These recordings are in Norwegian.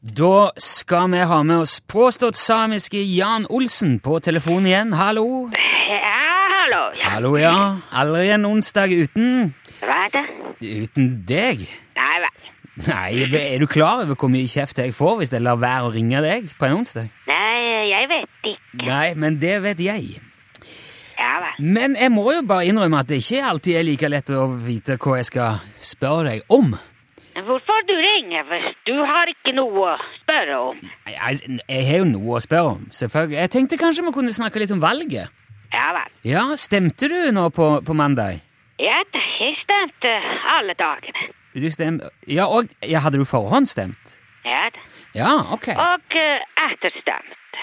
Da skal vi ha med oss påstått samiske Jan Olsen på telefon igjen. Hallo. Ja, hallo. Ja. Hallo, ja. Aldri en onsdag uten Hva er det? uten deg. Nei vel. Nei, er du klar over hvor mye kjeft jeg får hvis jeg lar være å ringe deg på en onsdag? Nei, jeg vet ikke. Nei, men det vet jeg. Ja vel. Men jeg må jo bare innrømme at det ikke alltid er like lett å vite hva jeg skal spørre deg om. Men Hvorfor du ringer hvis du har ikke noe å spørre om? Nei, Jeg, jeg har jo noe å spørre om, selvfølgelig. Jeg tenkte kanskje vi kunne snakke litt om valget. Ja vel. Ja, stemte du nå på, på mandag? Ja, da, jeg stemte eh, alle dagene. Du stem... Ja, og ja, hadde du forhåndsstemt? Ja da. Ja, ok. Og eh, etterstemt.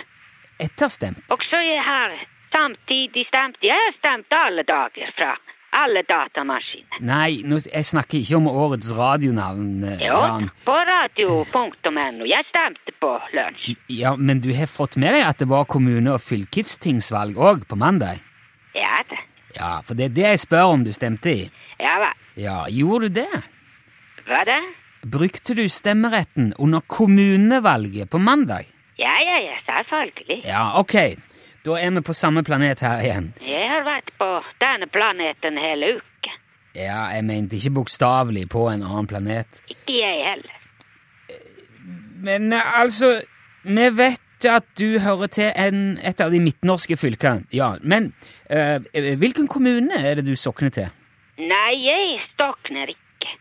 Etterstemt. Og så jeg har samtidig stemt. Jeg har stemt alle dager fra alle datamaskiner. Nei, nå, s- jeg snakker ikke om årets radionavn, eh, Jo, Jan. på radio.no. Jeg stemte på lunsj. Ja, men du har fått med deg at det var kommune- og fylkestingsvalg òg på mandag? Ja da. Ja, for det er det jeg spør om du stemte i. Ja vel. Ja, gjorde du det? Hva da? Brukte du stemmeretten under kommunevalget på mandag? Ja, ja, ja, selvfølgelig. Ja, ok. Da er vi på samme planet her igjen. Jeg har vært på denne planeten hele uken. Ja, jeg mente ikke bokstavelig på en annen planet. Ikke jeg heller. Men eh, altså, vi vet at du hører til en, et av de midtnorske fylkene. Ja, men eh, eh, hvilken kommune er det du sokner til? Nei, jeg stokner ikke.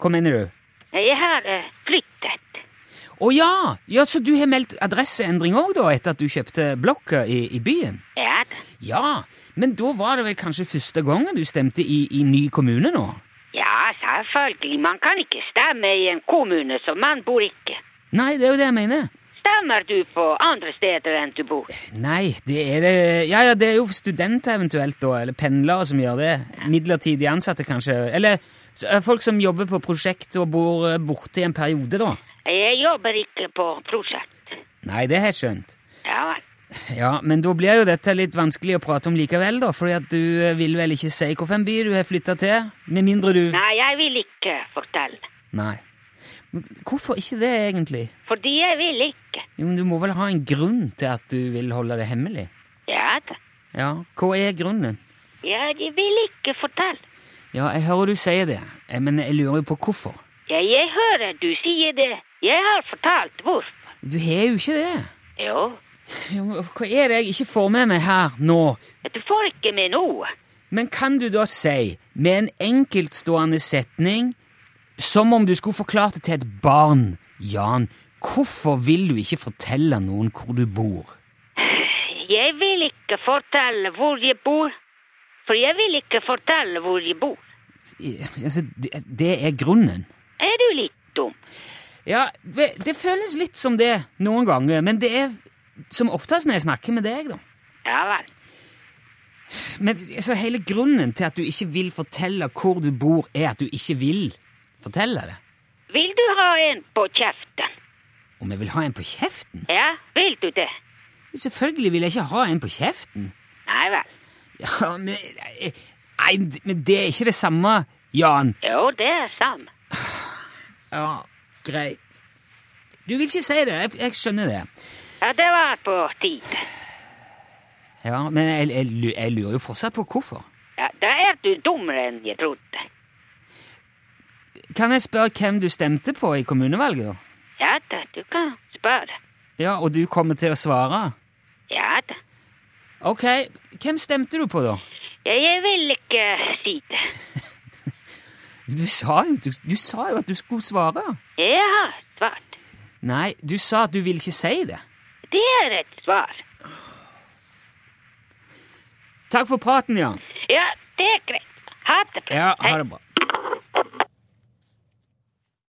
Hva mener du? Jeg har eh, flyttet. Å ja! ja! Så du har meldt adresseendring òg, da, etter at du kjøpte blokka i, i byen? Ja da. Ja, men da var det vel kanskje første gangen du stemte i, i ny kommune nå? Ja, selvfølgelig. Man kan ikke stemme i en kommune som man bor ikke. Nei, det er jo det jeg mener. Stemmer du på andre steder enn du bor? Nei, det er det Ja, ja, det er jo studenter eventuelt, da, eller pendlere som gjør det. Midlertidig ansatte, kanskje. Eller s- eh, folk som jobber på prosjekt og bor eh, borte i en periode, da. Jeg jobber ikke på prosjekt. Nei, det har jeg skjønt. Ja vel. Ja, men da blir jo dette litt vanskelig å prate om likevel, da, fordi at du eh, vil vel ikke si hvilken by du har flytta til? Med mindre du Nei, jeg vil ikke fortelle. Nei. Men Hvorfor ikke det, egentlig? Fordi jeg vil ikke. Jo, men Du må vel ha en grunn til at du vil holde det hemmelig? Ja da. Ja, hva er grunnen? Ja, jeg vil ikke fortelle. Ja, jeg hører du sier det, eh, men jeg lurer jo på hvorfor. Ja, jeg hører du sier det. Jeg har fortalt hvorfor. Du har jo ikke det. Jo, Jo, Hva er det jeg ikke får med meg her nå? du oh, får ikke med noe. Men kan du da si, med en enkeltstående setning, som om du skulle forklart det til et barn, Jan, hvorfor vil du ikke fortelle noen hvor du bor? Jeg vil ikke fortelle hvor jeg bor, for jeg vil ikke fortelle hvor jeg bor. Eh, Altså, det, det er grunnen. Er du litt dum? Ja, det det føles litt som det noen ganger, men det er som oftest når jeg snakker med deg, da. Ja vel. Men altså, hele grunnen til at du ikke vil fortelle hvor du bor, er at du ikke vil fortelle det. Vil du ha en på kjeften? Om jeg vil ha en på kjeften? Ja, vil du det? Selvfølgelig vil jeg ikke ha en på kjeften. Nei vel. Ja, men, nei, men det er ikke det samme, Jan. Jo, det er samme. Ja, greit. Du vil ikke si det. Jeg, jeg skjønner det. Ja, det var på tide. Ja, Men jeg, jeg, lu- jeg lurer jo fortsatt på hvorfor. Ja, da er du dummere enn jeg trodde. Kan jeg spørre hvem du stemte på i kommunevalget, da? Ja da, du kan spørre. Ja, Og du kommer til å svare? Ja da. Ok, hvem stemte du på, da? Ja, jeg vil ikke si det. Du sa jo, du, du sa jo at du skulle svare. Jeg har svart. Nei, du sa at du ville ikke si det. Det er et svar. Takk for praten, Jan. Ja, det er greit. Ha det bra. Ja, ha det bra.